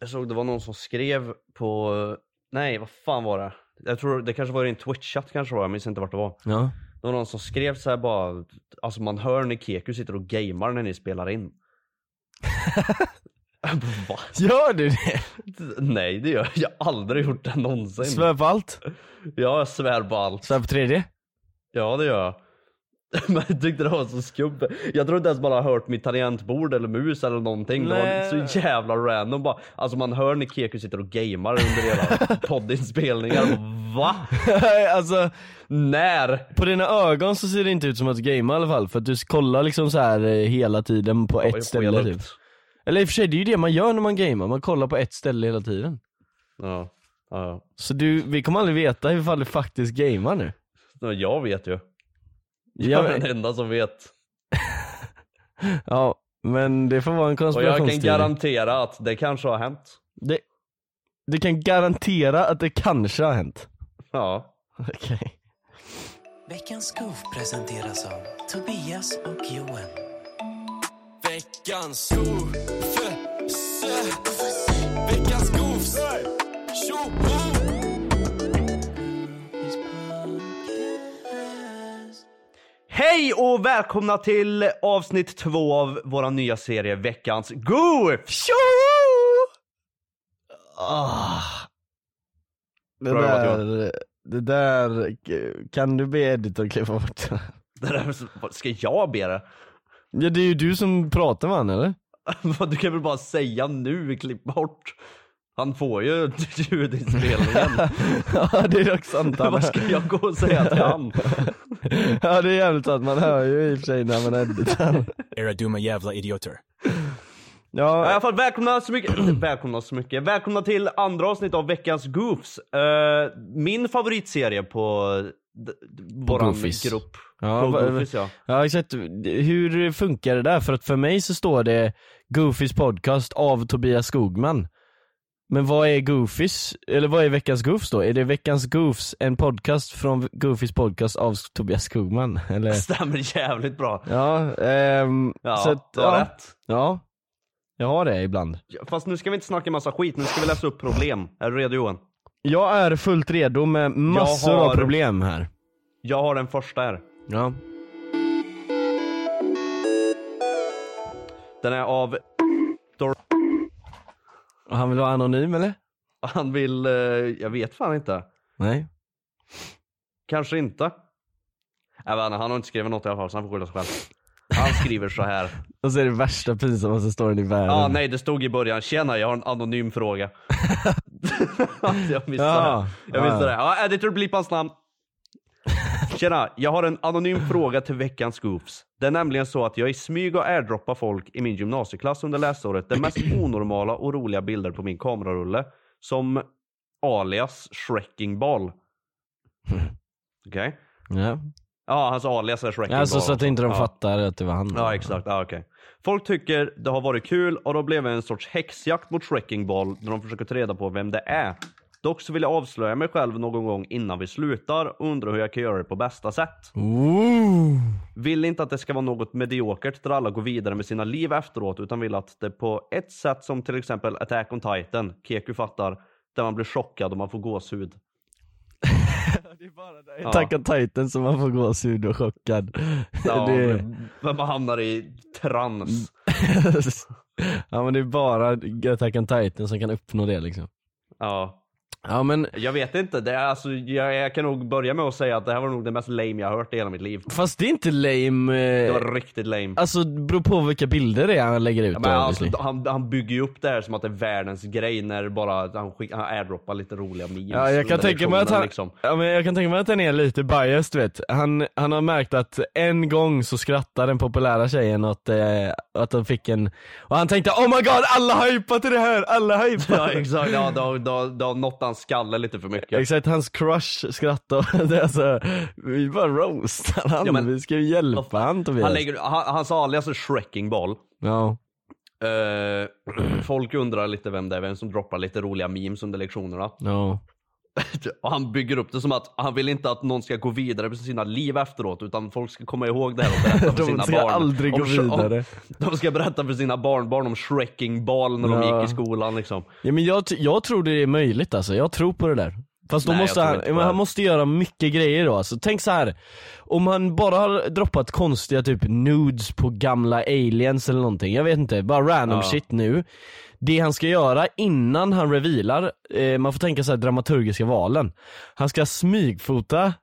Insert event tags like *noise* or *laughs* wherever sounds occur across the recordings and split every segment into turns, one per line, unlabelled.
Jag såg det var någon som skrev på, nej vad fan var det? Jag tror det kanske var i en twitch-chatt kanske var, jag minns inte vart det var.
Ja.
Det var någon som skrev så här bara, alltså man hör när Keku sitter och gamer när ni spelar in. *laughs* Jag bara, Va?
Gör du det?
Nej det gör jag, jag har aldrig gjort det någonsin.
*laughs* Svär på allt?
Ja jag svär på allt.
Svär på tredje?
Ja det gör jag. *laughs* Men jag tyckte det var så skumt. Jag tror inte ens man har hört mitt tangentbord eller mus eller någonting. Det var
Nej.
så jävla random bara. Alltså man hör när Keku sitter och gamer under *laughs* hela poddinspelningar. Jag bara, Va?
*laughs* alltså,
När?
på dina ögon så ser det inte ut som att du gamer i alla fall, för att du kollar liksom så här eh, hela tiden på
Jag
ett ställe
skenar
typ.
upp.
Eller i och för sig, det är ju det man gör när man gamer, man kollar på ett ställe hela tiden.
Ja. Ja.
Så du, vi kommer aldrig veta ifall du faktiskt gamer nu.
ja. Jag vet ju. Jag är
Jag,
den enda som vet.
ja, men det får vara en
Och jag kan
konspirationsteori.
garantera att det kanske har hänt.
det, du kan garantera att det kanske har hänt. *laughs*
Ja.
Okej.
Veckans Goof presenteras av Tobias och Johan. Veckans Goof! Veckans Goof!
Hej och välkomna till avsnitt två av vår nya serie Veckans Goof!
Ah. Det,
Bra jobbat,
där, det där, kan du be Edith att klippa bort det?
Det där, ska jag be det?
*laughs* Ja det är ju du som pratar med han eller?
Vad, Du kan väl bara säga nu, klipp bort. Han får ju *laughs* ljudinspelningen.
*laughs* ja det är dock sant *laughs* han.
Vad ska jag gå och säga till han?
Ja det är jävligt sant, man hör ju i och för sig när man *laughs* editar.
Era dumma jävla idioter.
Ja, I
Ja,
alla fall välkomna så mycket, *clears throat* välkomna så mycket. Välkomna till andra avsnitt av veckans Goofs. Eh, min favoritserie på d- d- våran
Goofies.
grupp.
Ja,
på
va-
Goofies ja.
ja exakt, hur funkar det där? För att för mig så står det Goofys podcast av Tobias Skogman. Men vad är Goofys, eller vad är veckans Goofs då? Är det veckans Goofs en podcast från Goofys podcast av Tobias Skogman? *laughs*
*laughs*
Eller?
Stämmer jävligt bra.
Ja, ehm,
Ja,
så att,
du har
ja,
rätt.
ja, jag har det ibland.
Ja, Fast nu ska vi inte snacka massa skit, nu ska vi läsa upp problem. Är du redo Johan?
Jag är fullt redo med massor
har-
av problem här.
Jag har den första här.
Ja.
Den är av...
Och Han vill vara anonym eller?
Han vill... eh, jag vet fan inte.
Nej.
Kanske inte. Äh, men han har inte skrivit något i alla fall så han får skylla sig själv. Han skriver så
*laughs*
här.
Och så är det värsta pinsammaste storyn i världen.
Ja, ah, nej det stod i början, tjena jag har en anonym fråga. *laughs* alltså, jag missade
Ja,
det. Jag missade
ja.
det. Ja, editor blippa hans namn. Tjena, jag har en anonym fråga till veckans Goofs. Det är nämligen så att jag i smyg och airdroppar folk i min gymnasieklass under läsåret den
*clears throat*
mest onormala och roliga bilder på min kamerarulle. Som
*laughs*
alias Shrekking Ball. Okej?
Ja.
Ja, hans alias är Shrek.
Alltså så att inte de
ja.
fattar att det var han.
Ja, exakt. Ja, okej. Folk tycker det har varit kul och då blev det en sorts häxjakt mot Wrecking Ball när de försöker ta reda på vem det är. Dock så vill jag avslöja mig själv någon gång innan vi slutar och undrar hur jag kan göra det på bästa sätt.
Ooh.
Vill inte att det ska vara något mediokert där alla går vidare med sina liv efteråt utan vill att det på ett sätt som till exempel Attack on Titan, Keku fattar, där man blir chockad och man får gåshud. Ja.
Attack on Titan som man får gåshud och chockad.
Ja,
*laughs* det... Mm.
men man hamnar i trans.
ja men det är bara Attack on Titan som kan uppnå det liksom.
Ja.
Ja men
Jag vet inte. Det är, alltså, jag, jag kan nog börja med att säga att det här var nog det mest lame jag har hört i hela mitt liv.
fast det är inte lame.
Det
eh,
var riktigt lame.
Alltså det beror på vilka bilder det är han lägger ut
Ja,
då
Men alltså,
obviously.
han, han bygger ju upp det här som att det är världens grej när bara han, skick, han airdroppar lite roliga memes.
Ja, jag kan
under
tänka mig att han,
lektionen, liksom.
ja, men jag kan tänka mig att han är lite biased du vet. Han, han har märkt att en gång så skrattar den populära tjejen åt eh, att han fick en, och han tänkte oh my god alla hypar till det här, alla
Ja
*laughs* hypar.
exakt, ja, då, då, då nått hans skalle lite för mycket.
*laughs* Exakt, hans crush skrattar *laughs* det är alltså, vi bara roastar han,
Ja, men-
vi ska ju hjälpa han Tobias.
Han lägger, han, hans alias är Shrecking Ball.
Ja.
Eh, *clears throat* folk undrar lite vem det är, vem som droppar lite roliga memes under lektionerna.
Ja.
typ, Och han bygger upp det som att han vill inte att någon ska gå vidare med sina liv efteråt utan folk ska komma ihåg det här och
*laughs*
berätta för
De
sina
ska
barn.
aldrig gå
Sh-
vidare.
de ska berätta för sina barnbarn om Shrecking Ball när de
Ja.
gick i skolan liksom.
Ja men jag, t- jag tror det är möjligt alltså, jag tror på det där. Fast då
Nej, jag
måste
tror
han,
inte på
men
det.
han måste göra mycket grejer då alltså. Tänk så här om han bara har droppat konstiga typ nudes på gamla aliens eller någonting, jag vet inte, bara random
Ja.
shit nu. Det han ska göra innan han revealar, eh, man får tänka så här dramaturgiska valen. Han ska smygfota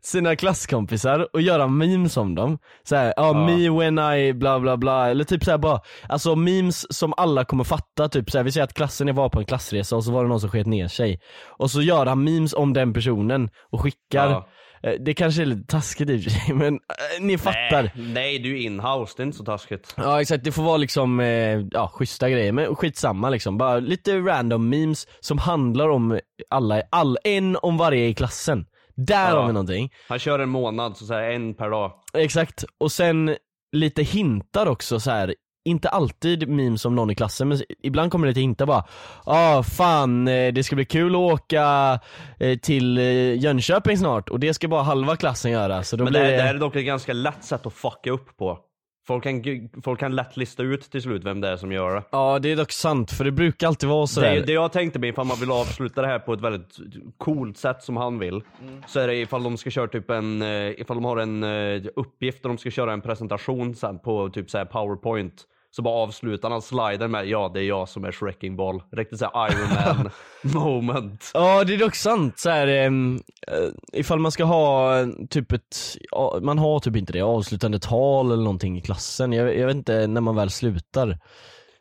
sina klasskompisar och göra memes om dem. Såhär, ja
Ja.
me when I bla bla bla, eller typ såhär bara, alltså memes som alla kommer fatta, typ såhär, vi säger att klassen var på en klassresa och så var det någon som sket ner sig. Och så gör han memes om den personen och skickar,
Ja.
Eh, det kanske är lite taskigt i och för sig *laughs* men eh, ni fattar.
Nej, nej, du är inhouse, det är inte så taskigt.
Ja exakt, det får vara liksom, eh, ja schyssta grejer men skitsamma liksom. Bara lite random memes som handlar om alla, all, en om varje i klassen. Där
Ja.
har vi någonting.
Han kör en månad, så, så här, en per dag.
Exakt, och sen lite hintar också så här. Inte alltid memes om någon i klassen men ibland kommer det lite hintar bara ah, fan eh, det ska bli kul att åka eh, till eh, Jönköping snart och det ska bara halva klassen göra så då
Men det,
blir
här- det här är dock ett ganska lätt sätt att fucka upp på. Folk kan, folk kan lätt lista ut till slut vem det är som gör det.
Ja det är dock sant för det brukar alltid vara så
Det,
där.
är- det jag tänkte mig ifall man vill avsluta det här på ett väldigt coolt sätt som han vill. Så är det ifall de ska köra typ en, eh, ifall de har en eh, uppgift och de ska köra en presentation sen på typ så här powerpoint. Så bara avslutar han sliden med ja det är jag som är Shrecking Ball. Riktigt såhär Iron
*laughs*
Man moment.
Ja det är dock sant, så här, ehm, eh, ifall man ska ha eh, typ ett, ja, man har typ inte det, avslutande tal eller någonting i klassen, jag, jag vet inte när man väl slutar.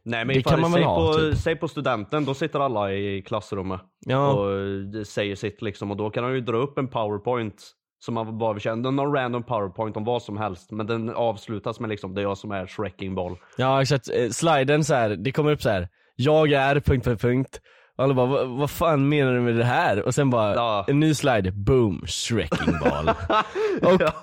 Nej men
Det
ifall,
kan man väl
säg,
ha,
på,
typ.
säg på studenten, då sitter alla i klassrummet
Ja.
och eh, säger sitt liksom. Och då kan han ju dra upp en powerpoint som man bara vill känna, någon random powerpoint om vad som helst. Men den avslutas med liksom, det är jag som är Shrecking Ball.
Ja exakt, eh, sliden så här, det kommer upp så här. jag är... punkt, punkt, punkt. Och alla bara, "Vad- vad fan menar du med det här? Och sen bara,
Ja.
en ny slide, boom, shrecking
*laughs*
ball.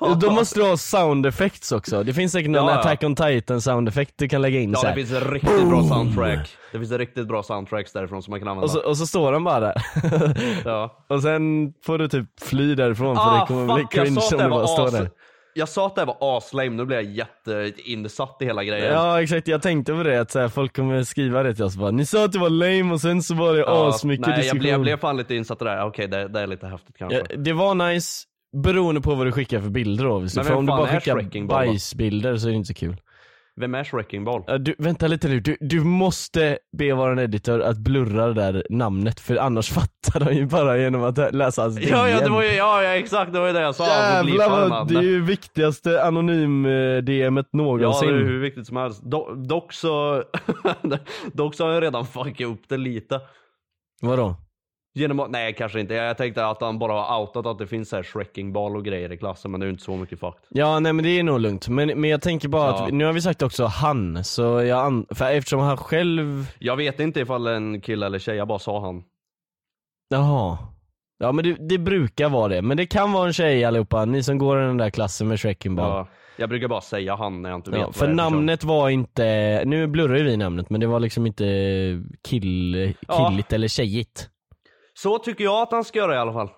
och då måste du ha sound effects också, det finns säkert någon
Ja, ja.
Attack on Titan sound effect du kan lägga in
Ja,
så
det
här.
finns en riktigt bra soundtrack. Det finns en riktigt bra soundtracks därifrån som man kan använda.
Och så, och så står han bara där. *laughs*
ja.
Och sen får du typ fly därifrån för alltså, det kommer bli
Ah, jag
cringe
sa att
om
det
du
här
bara står
var as...
där.
Jag sa att det här var aslame, nu blir jag jätteinsatt i hela grejen.
Ja exakt, jag tänkte på det att så här, folk kommer skriva det till oss bara Ni sa att det var lame och sen så var det
Ja,
asmycket
Nej, jag
diskussion
blev, jag blev fan lite insatt i det där. Okej, det, det är lite häftigt kanske.
ja, Det var nice, beroende på vad du skickar för bilder då obviously.
Men
För
vem
om du
fan
bara
är
skickar
Shreking Ball, va?
bajsbilder så är det inte så kul
Vem är Shrecking Ball?
Ja, du, Vänta lite nu, du, du måste be vår editor att blurra det där namnet för annars *laughs* fattar de ju bara genom att läsa hans
Ja, ja, det
DM.
var ju, ja, ja, exakt, det var ju det jag sa.
Jävlar vad, det är
ju
ju viktigaste anonym-DMet
Ja, det
någonsin
är hur viktigt som helst. Do, dock så... *laughs* dock så har jag redan fuckat upp det lite.
Vadå?
Genom att, nej kanske inte. Jag tänkte att han bara har outat att det finns så här Shrecking Ball och grejer i klassen men det är ju inte så mycket fucked.
Ja nej men det är nog lugnt, men, men jag tänker bara
Ja.
att, nu har vi sagt också han, så jag an- för eftersom han själv,
Jag vet inte ifall en kille eller tjej, jag bara sa han.
jaha Ja men det, det brukar vara det, men det kan vara en tjej allihopa, ni som går i den där klassen med Shrekinball.
Ja, jag brukar bara säga han när jag inte vet
Ja,
vad
för
det är liksom.
namnet var inte, nu blurrar ju vi namnet men det var liksom inte kill,
Ja.
killigt eller tjejigt.
person. Så tycker jag att han ska göra i alla fall.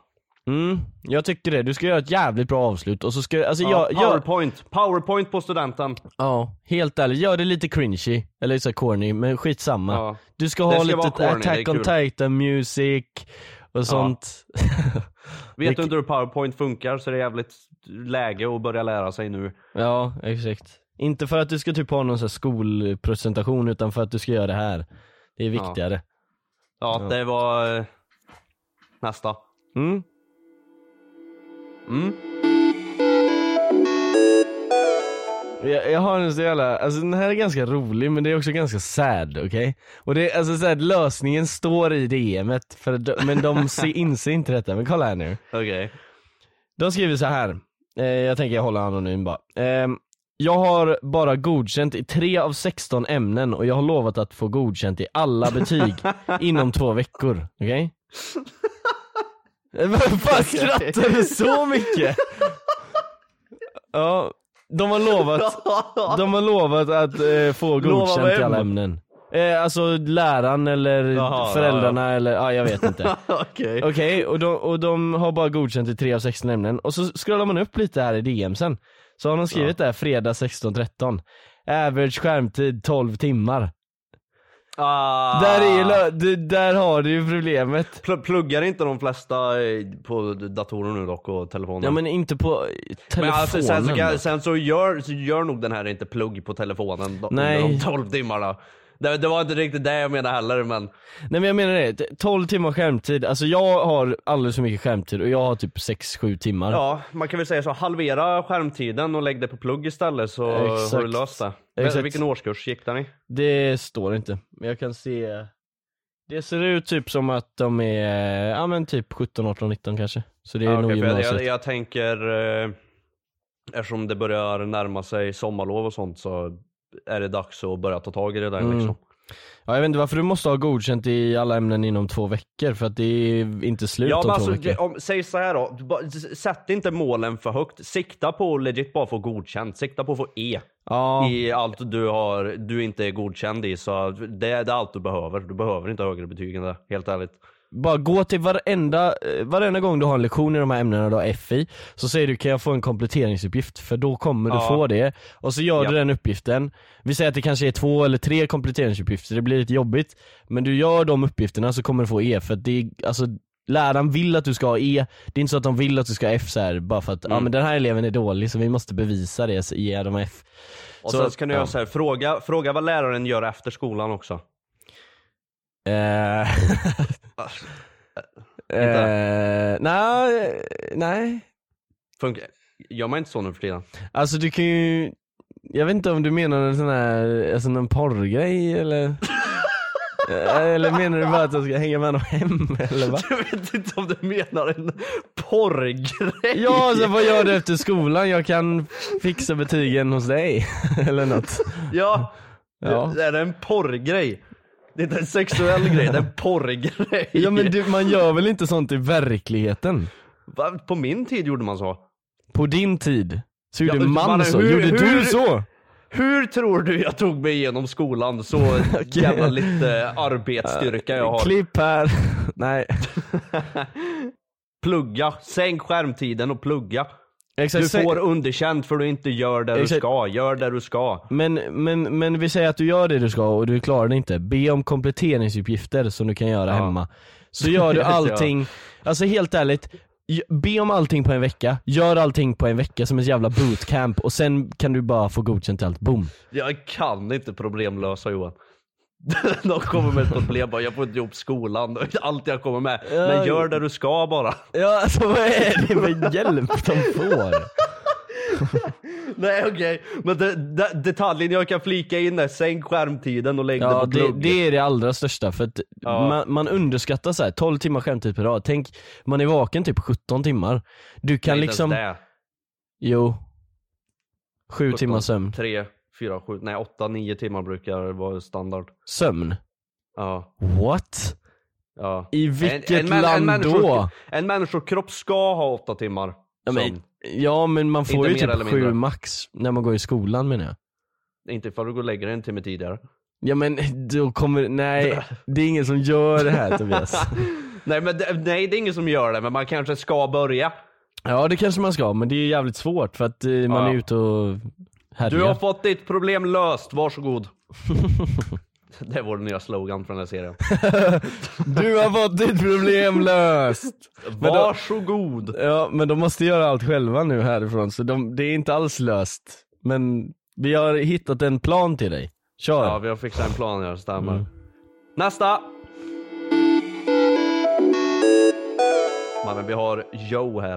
Mm, jag tycker det. Du ska göra ett jävligt bra avslut och så ska alltså
Ja,
jag, jag,
Powerpoint. Powerpoint på studenten.
ja, helt ärligt, gör det lite cringy, eller så här corny, men skitsamma.
Ja.
Du ska
Det
ha
ska vara
lite
corny, det
Attack
är
on
kul.
Titan music och sånt. *laughs*
Vet du inte hur powerpoint funkar så är det jävligt läge att börja lära sig nu.
Ja, exakt. Inte för att du ska typ ha någon sån här skolpresentation utan för att du ska göra det här. Det är viktigare.
Ja, det var eh, nästa.
Mm.
Mm.
Jag, jag har en så jävla, alltså den här är ganska rolig men det är också ganska sad, okej? Och det är alltså så här, lösningen står i DMet, för, att de- men de se, *laughs* inser inte detta. Men kolla här nu.
Okej. *laughs*
De skriver så här. Eh, jag tänker jag håller anonym bara. Ehm, jag har bara godkänt i 3 av 16 ämnen och jag har lovat att få godkänt i
*laughs*
alla betyg inom två veckor. Okej? Eh, Vad fan skrattar du
*laughs*
så mycket? Ja, de har
*laughs*
lovat, de har lovat att eh, få
Lova
godkänt i
vem?
alla ämnen. Eh, alltså läraren eller
Jaha,
föräldrarna eller, ja jag vet inte.
Okej.
Okej, och, de, och de har bara godkänt i 3 av 16 ämnen. Och så scrollar man upp lite här i DM sen. Så har de skrivit där fredag 16.13. Average skärmtid 12 timmar.
Ah.
Där, är ju, lö- det- där har du ju problemet.
Pl- Pluggar inte de flesta eh, på datorer nu dock och telefoner?
Ja men inte på eh,
Men
telefonen.
alltså, sen, så, kan- sen så, gör, så gör nog den här inte plugg på telefonen då-
Nej.
under de 12 timmarna. Det, det var inte riktigt det jag menade heller men
Nej men jag menar det, t- 12 timmar skärmtid. Alltså jag har alldeles för mycket skärmtid och jag har typ 6-7 timmar.
ja, man kan väl säga så halvera skärmtiden och lägg det på plugg istället så har du
Exakt.
löst det.
Exakt.
Men, vilken årskurs gick den i?
Det står inte, men jag kan se. Det ser ut typ som att de är, ja men typ 17, 18, 19 kanske. Så det är
Ja,
nog
okej, för jag,
gymnasiet.
jag, jag tänker, eh, eftersom det börjar närma sig sommarlov och sånt så är det dags att börja ta tag i det där
Mm.
liksom.
Ja, jag vet inte varför du måste ha godkänt i alla ämnen inom två veckor för att det är inte slut
Ja,
om
men
två
alltså,
veckor.
det- om, säg så här då, Ba- s- sätt inte målen för högt. Sikta på att legit bara få godkänt, sikta på att få E.
Ja,
i allt du, har, du inte är godkänd i. Så det, är- det är allt du behöver. Du behöver inte högre betyg än det, helt ärligt.
bara gå till varenda, eh, varenda gång du har en lektion i de här ämnena du har F i, så säger du kan jag få en kompletteringsuppgift? För då kommer du
Ja.
få det. Och så gör
Ja.
du den uppgiften. Vi säger att det kanske är två eller tre kompletteringsuppgifter, det blir lite jobbigt. Men du gör de uppgifterna så kommer du få E för att det är, alltså Läraren vill att du ska ha E, det är inte så att de vill att du ska ha F så här, bara för att
Mm.
ja, men den här eleven är dålig så vi måste bevisa det, så ge dem F.
Och
Så-
sen så kan du
ja.
göra så här, fråga, fråga vad läraren gör efter skolan också.
Eh, eh, nej, nej.
Funkar, gör man inte så nu för tiden?
Alltså du kan ju, jag vet inte om du menar en sån här, alltså någon porrgrej eller? Eh, eller menar du bara att jag ska hänga med honom hem eller vad?
*laughs* Jag vet inte om du menar en porrgrej.
Ja, alltså, vad gör du efter skolan? Jag kan fixa betygen hos dig. eller något.
Ja.
Ja.
Det, är det en porrgrej? Det är inte en sexuell grej, det är en porrgrej.
Ja men du, man gör väl inte sånt i verkligheten?
Va? På min tid gjorde man så.
På din tid, så gjorde
men
man
bara,
så.
hur-
gjorde du
hur-
så?
Hur tror du jag tog mig igenom skolan *laughs* så jävla lite arbetsstyrka jag har?
Klipp här. Nej.
Plugga, sänk skärmtiden och plugga.
Exakt,
Du
sä-
får underkänt för du inte gör det du
Exakt.
ska. Gör det du ska.
Men, men, men vi säger att du gör det du ska och du klarar det inte. Be om kompletteringsuppgifter som du kan göra hemma. Så gör *laughs* du
Ja.
allting, alltså helt ärligt, j- be om allting på en vecka, gör allting på en vecka som ett jävla bootcamp och sen kan du bara få godkänt i allt, boom.
Jag kan inte problemlösa Johan. *laughs* De kommer med ett problem bara, jag får inte ihop skolan, *laughs* allt jag kommer med. Men gör det du ska bara.
Ja alltså vad är det för hjälp de får?
*laughs* Nej okej, men det, det, detaljen jag kan flika in är sänk skärmtiden och lägg det
Ja
på
det,
plugg.
det är det allra största för att man, man underskattar så här 12 timmar skärmtid per dag, tänk man är vaken typ 17 timmar. Du kan
Nej, inte
liksom,
ens det.
jo, 7
17,
timmar sömn.
tre, fyra, sju, nej åtta, nio timmar brukar vara standard.
Sömn?
Ja.
What?
Ja.
I vilket
en, en,
land
en, människor-
då?
En människokropp ska ha åtta timmar.
Ja men,
sömn.
ja men man får
Inte mer
ju typ
eller mindre.
sju max när man går i skolan menar jag.
Inte ifall du går och lägger dig en timme tidigare.
Ja men då
*laughs*
kommer, nej det är ingen som gör det här Tobias.
nej, men, det- nej, det är ingen som gör det, men man kanske ska börja.
Ja det kanske man ska, men det är jävligt svårt för att eh, man
Ja.
är ute och härjar.
Du har fått ditt problem löst, varsågod. det är vår nya slogan för den här
*laughs*
serien.
*laughs* du har fått ditt problem löst! då-
Varsågod!
Ja men de måste göra allt själva nu härifrån så de, det är inte alls löst. Men vi har hittat en plan till dig. Kör!
Ja, vi har fixat en plan här, stämmer.
Mm.
Nästa! Mannen, vi har Joe här.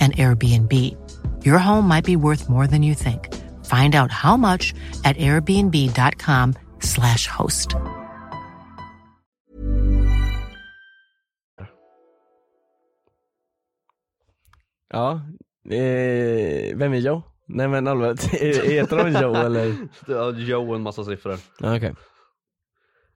an Airbnb. Your home might be worth more than you think. Find out how much at airbnb.com/slash host.
Ja, eh, vem är Joe? Nej men allvarligt, *laughs* heter de Joe eller?
*laughs* Det har Joe en massa siffror.
Ja, Okej.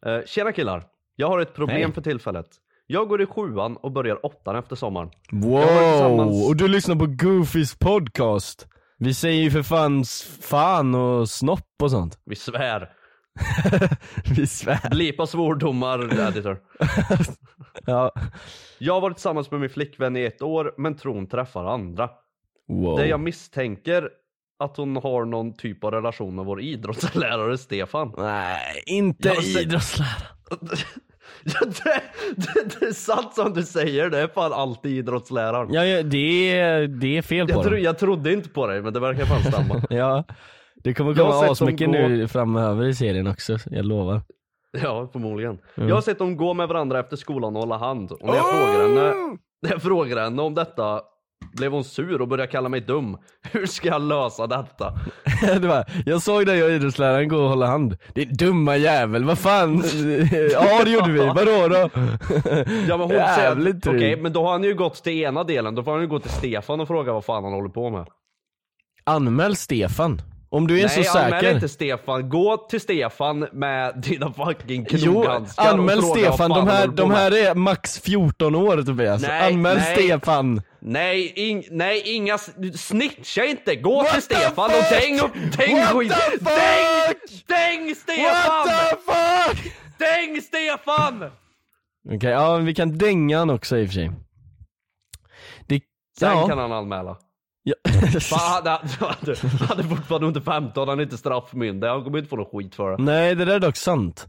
Eh, tjena killar! Jag har ett problem
Hej.
för tillfället. Jag går i sjuan och börjar åttan efter sommaren. varit
Wow!
tillsammans-
Och du lyssnar på Goofys podcast. Vi säger ju för fan s- fan och snopp och sånt.
Vi svär.
*laughs* Vi svär.
Blipa
*laughs*
svordomar, editor.
Ja.
Jag har varit tillsammans med min flickvän i ett år, men tron träffar andra.
Wow.
Det jag misstänker att hon har någon typ av relation med vår idrottslärare Stefan. *laughs*
Nej, inte
Jag ser-
idrottslärare.
Ja, det, det, det är sant som du säger, det är fan alltid idrottsläraren.
Ja, ja, det, är, det är fel på
jag, tro,
dem.
jag trodde inte på dig, men det verkar fan
*laughs*
stämma.
Ja. Det kommer
Jag har sett
komma
dem
asmycket
gå-
nu framöver i serien också, jag lovar.
*laughs* Ja, förmodligen.
Mm.
Jag har sett dem gå med varandra efter skolan och hålla hand. Och när jag, frågar
Oh!
henne, när jag frågar henne om detta blev hon sur och började kalla mig dum. *laughs* Hur ska jag lösa detta?
*laughs* det var, jag såg dig och idrottsläraren gå och hålla hand. Din dumma jävel, vad fan? *laughs* ja det gjorde vi, vadå då?
Ja
*laughs*
men hon säger att,
Jävligt
okej
dryg.
men då har han ju gått till ena delen, då får han ju gå till Stefan och fråga vad fan han håller på med.
*laughs* Anmäl Stefan. Om du är så
Nej anmäl
säker.
inte Stefan, gå till Stefan med dina fucking
Jo,
kroghandskar och
anmäl
fråga vad
Stefan.
fan
De
han
här,
håller på
de
med.
här är max 14 år Tobias.
Nej,
anmäl
nej.
Stefan.
Nej, ing, nej inga, s- snitcha inte! Gå
What
till
the
Stefan och
fuck?
däng upp, däng
What
skit!
the
Däng!
fuck?
Däng
What
Stefan!
the fuck?
Däng Stefan!
Okej, ja vi kan dänga han också i och för sig. Det,
Sen
ja.
kan han anmäla.
ja.
Fan, han, han är fortfarande under 15, han är inte straffmyndig, han kommer inte få någon skit för det.
Nej det där är dock sant.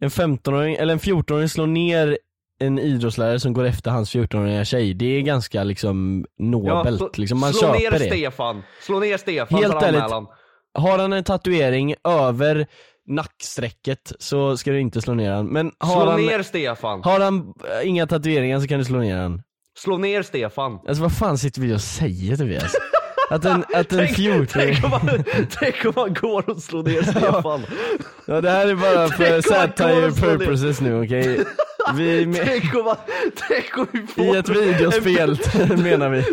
En 15-åring, eller en 14-åring slår ner en idrottslärare som går efter hans 14-åriga tjej. Det är ganska liksom nobelt.
slå-
liksom. Man
slå
köper
ner
det.
Stefan. Slå ner Stefan
Helt
för
ärligt.
anmälan.
Har han en tatuering över nacksträcket så ska du inte slå ner han. Men har
Slå
han,
ner Stefan.
har han äh, inga tatueringar så kan du slå ner han.
Slå ner Stefan.
Alltså vad fan sitter vi och
*laughs*
säger Tobias? Att en, att en
Tänk,
14
tänk, om man, tänk om man går och slår
*laughs*
ner Stefan.
Ja det här är bara för
Tänk om man går
satire
och slår ner.
purposes nu okej?
*laughs*
Vi är med,
Tänk om, man, tänk om vi får...
I ett videospel
*laughs*
menar vi.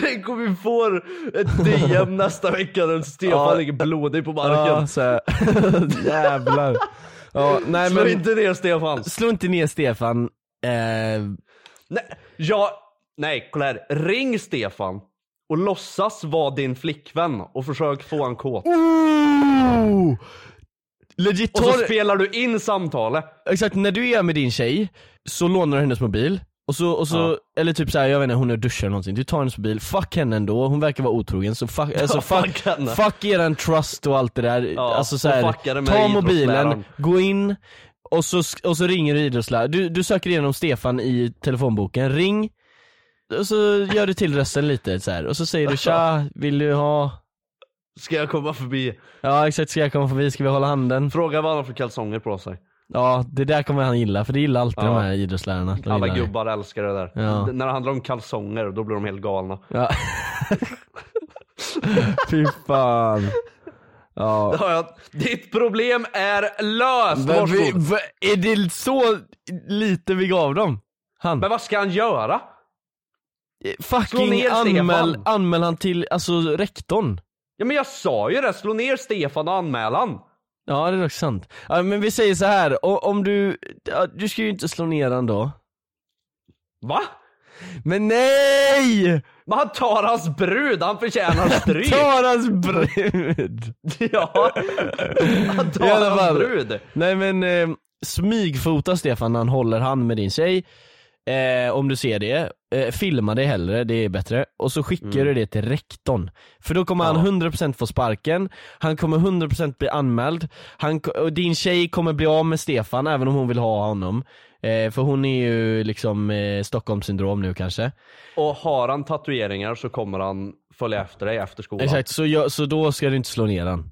tänk om vi får ett DM nästa vecka där Stefan
Ja.
ligger blodig på marken.
Ja så här. *laughs* jävlar. Ja, nej
Slå
men
inte ner Stefan.
slå inte ner Stefan. Eh,
Nej, ja, nej, kolla här. Ring Stefan och
Mm.
låtsas vara din flickvän och försök få han kåt.
Oh! Legit,
Och så
tar-
spelar du in samtalet.
Exakt, när du är med din tjej så lånar du hennes mobil och så, och så eller typ såhär, jag vet inte, hon är och duschar eller någonting, du tar hennes mobil, fuck henne ändå, hon verkar vara otrogen så fuck,
*laughs*
alltså fuck,
fuck henne.
fuck eran trust och allt det där,
Ja,
alltså
och fucka det
såhär,
med
ta mobilen,
idrottsläraren.
gå in och så, och så ringer du idrottsläraren, du, du söker igenom Stefan i telefonboken, ring och så gör du till rösten lite så här. och
*laughs*
så säger du tja, vill du ha,
Ska jag komma förbi?
ja exakt ska jag komma förbi, ska vi hålla handen?
Fråga vad han har för kalsonger på sig.
Ja det där kommer han gilla, för det gillar alltid
Ja.
de här idrottslärarna. De
Alla
gillar det.
gubbar älskar det där.
Ja.
D- När det handlar om kalsonger, då blir de helt galna.
Ja. *laughs* Fy fan.
Då
Ja.
har jag, ditt problem är löst!
Men vi,
varsågod.
va, är det så lite vi gav dem? Han.
Men vad ska han göra? slå
Fucking
ner Stefan.
anmäl, anmäl han till alltså rektorn.
Ja men jag sa ju det, slå ner Stefan och anmälan.
Ja det är dock sant. Ja, men vi säger så här. o- om du, ja, du ska ju inte slå ner han då.
Va?
Men nej!
Men han tar hans brud, han förtjänar stryk! *laughs*
Ta hans *laughs* brud!
ja! Han
I
tar
alla
hans
fall.
brud!
Nej men eh, smygfota Stefan när han håller hand med din tjej. Eh, om du ser det. Eh, filma det hellre, det är bättre. Och så skickar du det till rektorn. För då kommer
Mm. Ja.
han 100% få sparken, han kommer 100% bli anmäld, han, ko- och din tjej kommer bli av med Stefan även om hon vill ha honom. Eh, för hon är ju liksom eh, Stockholmssyndrom nu kanske.
Och har han tatueringar så kommer han följa efter dig efter skolan.
Exakt, så, jag, så då ska du inte slå ner han.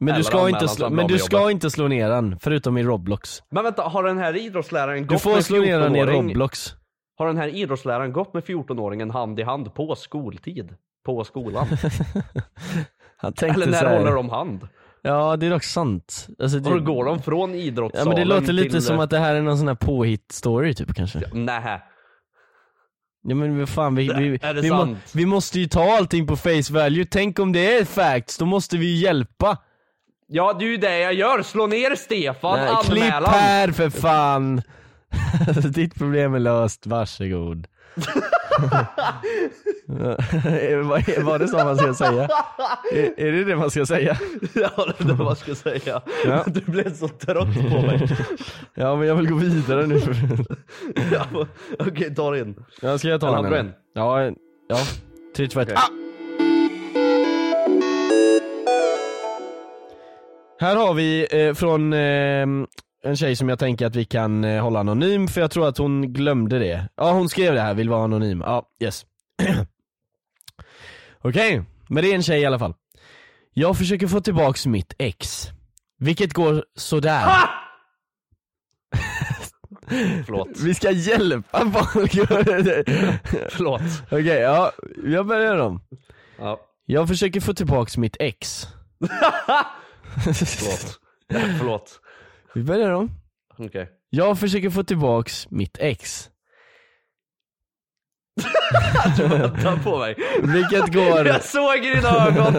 Men du
Eller
ska,
anmäla
inte
han så
slå,
han blir
men
av
du
alltså med
ska
jobbet.
inte slå ner han, förutom i Roblox.
Men vänta, har den här idrottsläraren
Du
gått
får
med
slå ner han i
14-åring?
Roblox.
Har den här idrottsläraren gått med 14-åringen hand i hand på skoltid? På skolan?
*laughs* Han tänkte
Eller när
så här.
håller de hand?
Ja det är dock sant. Alltså, det...
Och då går de från
ja,
idrottssalen
men det låter lite
till... eh,
som att det här är någon sån här påhitt-story typ kanske. Ja,
Nähä.
men vad fan vi, vi,
Är det
vi, må-
sant?
vi måste ju ta allting på face value. Tänk om det är facts, då måste vi ju hjälpa.
Ja det är ju det jag gör, slå ner Stefan,
Nej, klipp
anmälan!
här för fan! *laughs* Ditt problem är löst, varsågod. *laughs* Var, var det så man ska säga? Är, är det det man ska säga?
*laughs* Ja det är vad jag ska säga.
Ja.
Du blev så trött på
*laughs*
mig.
Ja men jag vill gå vidare nu.
Ja, Okej, ta det in.
Ja, ska jag ta
Eller hade
den?
du
eller? Ja, en- ja. 3, 2, 1. Ah! Här har vi eh, från eh, en tjej som jag tänker att vi kan eh, hålla anonym för jag tror att hon glömde det. Ja hon skrev det här, vill vara anonym. Ja, yes. *clears throat* Okej, men det är en tjej i alla fall. Jag försöker få tillbaks mitt ex. Vilket går sådär.
Förlåt.
Vi ska hjälpa folk. *laughs*
Förlåt.
Okej, ja, jag börjar om.
Ja,
Jag försöker få tillbaks mitt ex.
förlåt. förlåt.
Vi börjar om.
Okej.
Jag försöker få tillbaks mitt ex.
Ta på mig.
Vilket
*laughs*
går,
Jag såg i dina ögon.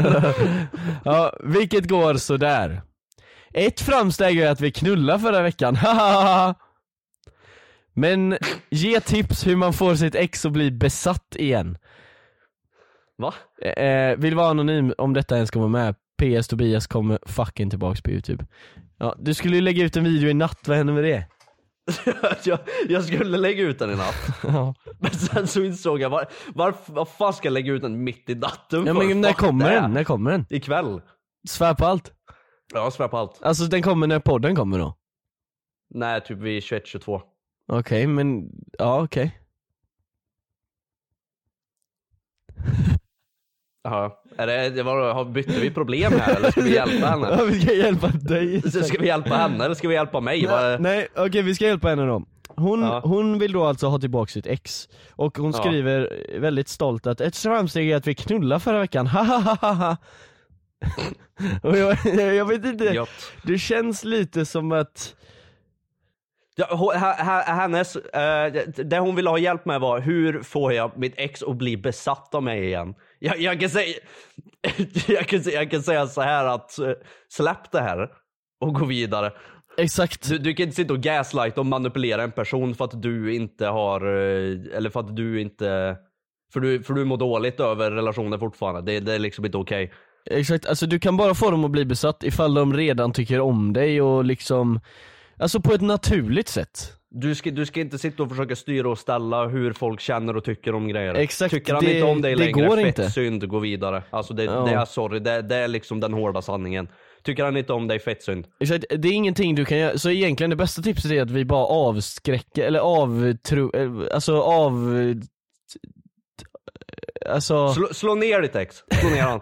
ja, vilket går sådär. Ett framsteg är att vi knullade förra veckan, *laughs* hahaha. Men ge tips hur man får sitt ex att bli besatt igen.
Va? *laughs*
Eh, vill vara anonym om detta ens kommer med. PS Tobias kommer fucking tillbaks på youtube. Ja, du skulle ju lägga ut en video i natt, vad hände med det?
Jag, jag skulle lägga ut den i natt.
Ja.
Men sen så insåg jag, var, varför vad fan ska jag lägga ut den mitt i natten
Ja
för?
men när
Fuck
kommer
det.
den? När kommer den?
Ikväll.
Svär på allt.
Ja, jag svär på allt.
Alltså den kommer när podden kommer då?
Nej, typ vid 21-22.
Okej men, ja okej. *laughs*
Jaha. Är det, det var, har- bytte vi problem här eller ska vi hjälpa henne?
*laughs* Ja, vi ska hjälpa dig.
Så Ska vi hjälpa henne eller ska vi hjälpa mig?
Nej,
Vad-
nej okej vi ska hjälpa henne då. Hon,
Ja.
hon vill då alltså ha tillbaka sitt ex, och hon
Ja.
skriver väldigt stolt att ett framsteg är att vi knullade förra veckan, *laughs* hahaha Och jag, *laughs* jag vet inte,
Gött.
det känns lite som att,
Ja, hon- h- h- hennes, eh, det- det hon ville ha hjälp med var hur får jag mitt ex att bli besatt av mig igen? Jag, jag, kan, säga, *laughs* jag, kan, säga- jag kan säga så här att eh, släpp det här och gå vidare.
exakt,
Du, du kan inte sitta och gaslighta och manipulera en person för att du inte har, eh, eller för att du inte, för du, för du mår dåligt över relationen fortfarande. Det, det är liksom inte okej.
Exakt, alltså du kan bara få dem att bli besatt ifall de redan tycker om dig och liksom, alltså på ett naturligt sätt.
Du ska, du ska inte sitta och försöka styra och ställa hur folk känner och tycker om grejer.
Exakt,
tycker han
det-
inte om dig
det
längre,
går
fett
inte.
synd, gå vidare. Alltså det,
Ja.
det är sorry, det, det är liksom den hårda sanningen. Tycker han inte om dig, fett synd.
Exakt, det är ingenting du kan göra, så egentligen det bästa tipset är att vi bara avskräcker, eller avtro, eh, alltså av...
*laughs*
Alltså,
Slå, slå ner ditt ex, slå ner han.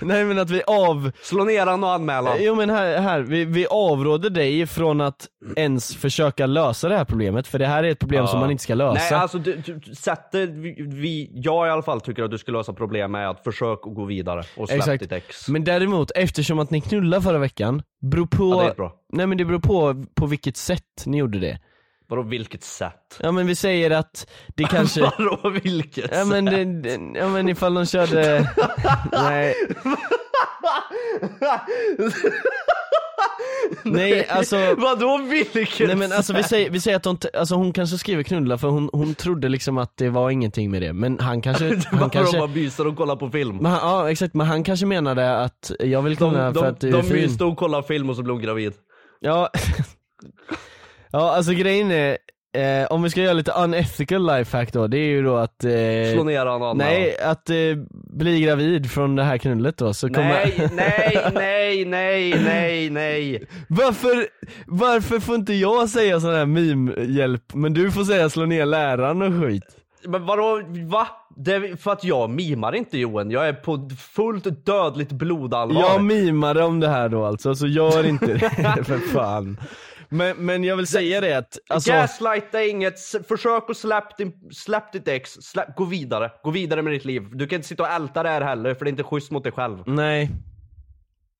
nej men att vi av...
Slå ner han och anmäl
*laughs*
han.
Jo men här, här vi, vi avråder dig från att ens försöka lösa det här problemet, för det här är ett problem som man inte ska lösa.
Nej alltså, du, du, sätter, vi, vi, jag i alla fall tycker att du ska lösa problemet med att försöka gå vidare och släpp
Exakt.
ditt ex.
Men däremot, eftersom att ni knullade förra veckan, beror på...
Ja, det är bra.
Nej men det beror på på vilket sätt ni gjorde det.
Vadå vilket sätt?
Ja men vi säger att *laughs*
*laughs*
det kanske...
Vadå vilket
ja, *laughs* men det, det, ja men ifall
*laughs*
de körde... nej. nej alltså...
Vadå vilket
Nej men alltså vi säger, vi säger att hon, t- alltså hon kanske skriver knulla för hon, hon trodde liksom att det var ingenting med det, men
*laughs*
han kanske...
Vadå
Han
de
kanske
bara myser och kollar på film?
men han, ja exakt, men han kanske menade att jag vill
De,
knulla
de,
för att du
de,
är fin.
myste och kollade film och så blev hon gravid.
Ja, *laughs* ja alltså grejen är, eh, om vi ska göra lite unethical lifehack då, det är ju då att... Eh,
Slå ner han och anmäla
Nej, att eh, bli gravid från det här knullet då så kommer...
Nej, nej,
*laughs*
nej, nej, nej, nej.
Varför, varför får inte jag säga sån här meme-hjälp men du får säga slå ner läraren och skit?
Men vadå, va? Det är för att jag mimar inte Johan, jag är på fullt dödligt blodallvar.
Jag mimade om det här då alltså, så gör inte det *laughs* för fan. Men, men jag vill säga det att, alltså,
Gaslighta inget, S- försök att släpp, din, släpp ditt ex, släpp, gå vidare. Gå vidare med ditt liv. Du kan inte sitta och älta det här heller för det är inte schysst mot dig själv.
nej.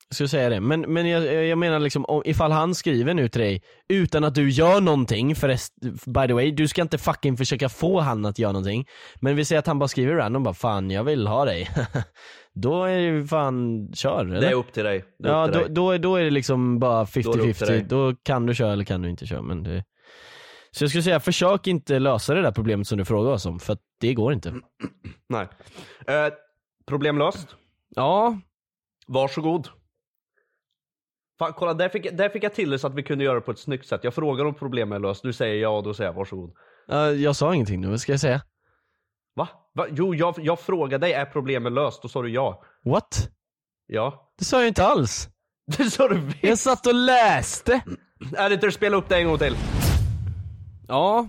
Jag skulle säga det, men, men jag, jag menar liksom om, ifall han skriver nu till dig utan att du gör någonting förrest, by the way, du ska inte fucking försöka få han att göra någonting. Men vi säger att han bara skriver random bara 'Fan jag vill ha dig' *laughs* Då är det ju fan, kör eller?
Det är upp till dig. Det är
Ja,
upp till
då,
dig.
då, är- då är det liksom bara
Då är det upp till
50-50.
dig.
Då, kan du köra eller kan du inte köra. Men det... Så jag skulle säga, försök inte lösa det där problemet som du frågar oss om, för att det går inte.
Nej. Eh, problem löst.
Ja,
Varsågod. Fan, kolla, där fick, jag- där fick jag till det så att vi kunde göra det på ett snyggt sätt. Jag frågar om problemet är löst, du säger ja och då säger jag varsågod.
eh, jag sa ingenting nu, vad ska jag säga?
Va? Va? Jo, jag, jag frågade dig, är problemet löst? Då sa du ja.
What?
Ja. *laughs*
Det sa jag inte alls.
Det sa du
Jag
visst!
satt och läste.
Editor, spela upp det en gång till. Ja,
Ja.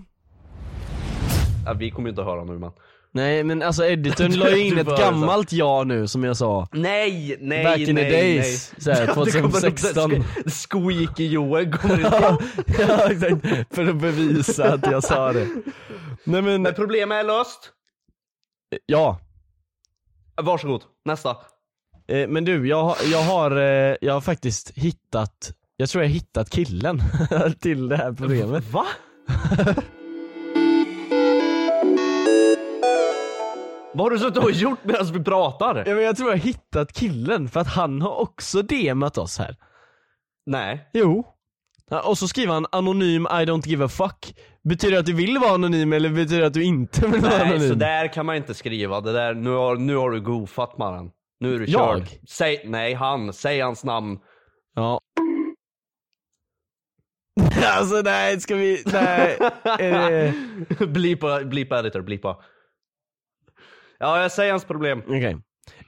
Äh, vi kommer ju inte att höra nu men.
Nej men alltså *laughs* editorn la ju in
Du
ett
bara, alltså.
gammalt ja nu som jag sa.
Nej, nej,
Back in the
nej,
days,
nej.
så här,
*laughs* Ja, det kommer nog- *laughs*
2016.
sko- Skoike-Johan
*laughs*
kommer inte...
*laughs* ja exakt, för att bevisa att jag sa det. Nej men,
Men problemet är löst.
ja.
Varsågod, nästa.
Eh, Men du, jag, har- jag, har, eh, jag har faktiskt hittat, jag tror jag har hittat killen *laughs* till det här problemet.
Va? *laughs* Vad har du suttit och gjort medan vi pratar?
Ja, men jag tror jag har hittat killen för att han har också DMat oss här.
Nej.
Jo. Ja, Och så skriver han anonym I don't give a fuck. Betyder det att du vill vara anonym eller betyder det att du inte vill vara
Nej,
anonym?
så där kan man inte skriva. Det där, nu, har, nu har du goofat mannen. Nu är du
Jag?
körd. Säg, nej han, säg hans namn. *laughs*
Ja. *laughs* alltså nej, ska vi,
*laughs*
nej. Eh, Är det-
blipa, blipa editor, blipa. Ja, jag säger hans problem.
Okej.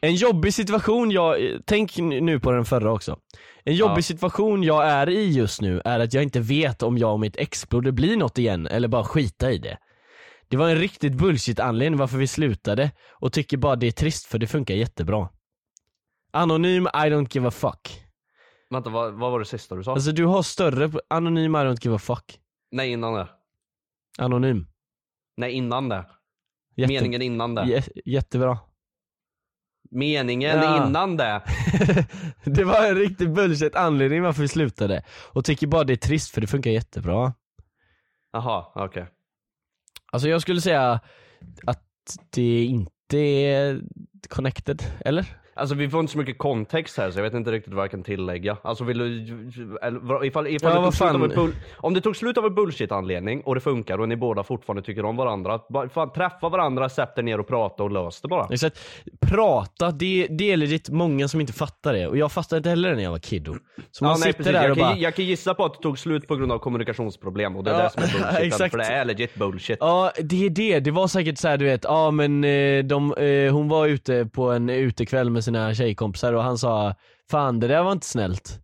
En jobbig situation jag, tänk nu på den förra också. En jobbig
Ja.
situation jag är i just nu är att jag inte vet om jag och mitt ex borde bli något igen eller bara skita i det. Det var en riktigt bullshit anledning varför vi slutade och tycker bara det är trist för det funkar jättebra. Anonym I don't give a fuck.
Vänta, vad, vad var det sista du sa?
Alltså du har större, anonym I don't give a fuck.
nej, innan det.
Anonym.
Nej, innan det.
Jätte-
Meningen innan det.
jä- jättebra.
Meningen
Ja.
innan det.
det var en riktigt bullshit anledning varför vi slutade. Och tycker bara det är trist för det funkar jättebra.
Jaha, okej.
Alltså jag skulle säga att det inte är connected, eller?
Alltså vi får inte så mycket kontext här så jag vet inte riktigt vad jag kan tillägga. Alltså vill du... Eller, vad- ifall, ifall
Ja,
det
vad
tog slut
fan.
av en bull, om det tog slut av en bullshit-anledning och det funkar och ni båda fortfarande tycker om varandra. Bara, fan, träffa varandra, sätt er ner och prata och lös det bara.
Exakt. Prata, det, det är legit många som inte fattar det. Och jag fattade inte heller det när jag var kiddo. Så
Ja,
man
nej,
sitter
precis.
där
jag,
och
kan,
bara...
jag kan gissa på att det tog slut på grund av kommunikationsproblem och det är
Ja,
det som
*laughs*
är bullshit.
exakt.
för det är legit bullshit.
Ja, det är det. Det var säkert så här, du vet, ja men eh, de, eh, hon var ute på en utekväll med sina tjejkompisar och han sa Fan det där var inte snällt.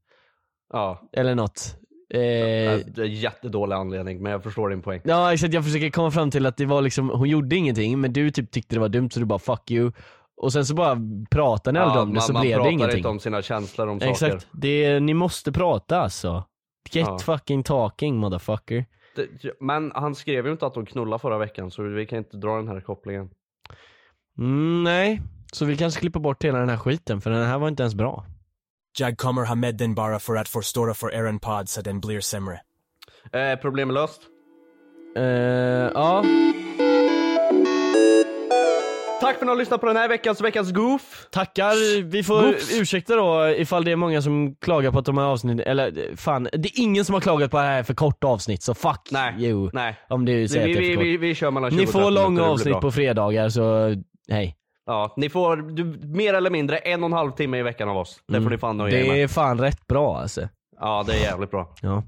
Ja.
Eller något. Eh,
Det är en jättedålig anledning men jag förstår din poäng.
Ja exakt, jag försöker komma fram till att det var liksom, hon gjorde ingenting men du typ tyckte det var dumt så du bara 'fuck you' Och sen så bara pratade ni aldrig om det
man,
så
man
blev det
pratar
ingenting.
inte om sina känslor om saker.
Exakt, det, ni måste prata alltså. Get
Ja.
fucking talking motherfucker.
Det- Men han skrev ju inte att de knullade förra veckan så vi kan inte dra den här kopplingen.
Mm, nej, så vi kanske klipper bort hela den här skiten för den här var inte ens bra.
Jag kommer ha med den bara för att förstöra för er en podd så den blir sämre.
Eh, problem är löst.
Eh, ja.
Tack för att ni har lyssnat på den här veckans veckans goof.
Tackar, vi får
Goops.
ursäkta då ifall det är många som klagar på att de här avsnitten, eller eh, fan, det är ingen som har klagat på att det här är för kort avsnitt så fuck
Nej,
you.
nej.
Om du
Vi,
säger att det är
vi,
för kort.
vi, vi kör mellan 20
Ni
och 30
får långa
minuter, det blir
avsnitt
bra.
på fredagar så hej.
Ja, ni får du, mer eller mindre en och en halv timme i veckan av oss. Det får ni fan nöja er
Det
med.
är fan rätt bra alltså.
Ja, det är jävligt bra.
Ja.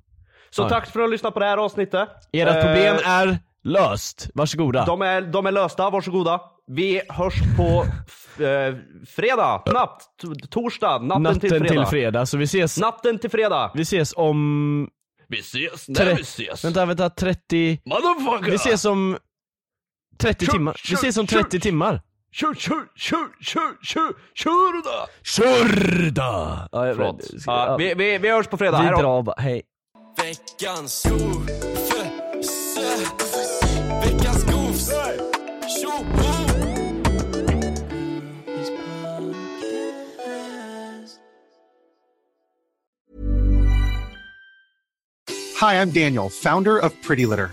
Så
Ja.
tack för att ni lyssnade på det här avsnittet.
Ert
Eh,
problem är löst. Varsågoda.
de är, de är lösta, varsågoda. Vi hörs på f- eh, fredag, natt, t- torsdag, natten,
Natten
till fredag.
så vi ses,
Natten till fredag.
vi ses om...
Vi ses
tre- Vänta, vänta, 30...
Motherfucker!
Vi ses om... 30
Tjo,
timmar. Vi
tjo,
ses om
tjo,
30 timmar.
Tjur, tjur, tjur, tjur, tjur, tjur då!
Körda! Ja, jag-
Förlåt.
ska-
Ja,
ja,
vi, vi, vi hörs på fredag.
Vi
Hej då.
drar bara, hej.
Veckans goofse. Veckans goofs. Tjoho!
Hi, I'm Daniel, founder of Pretty Litter.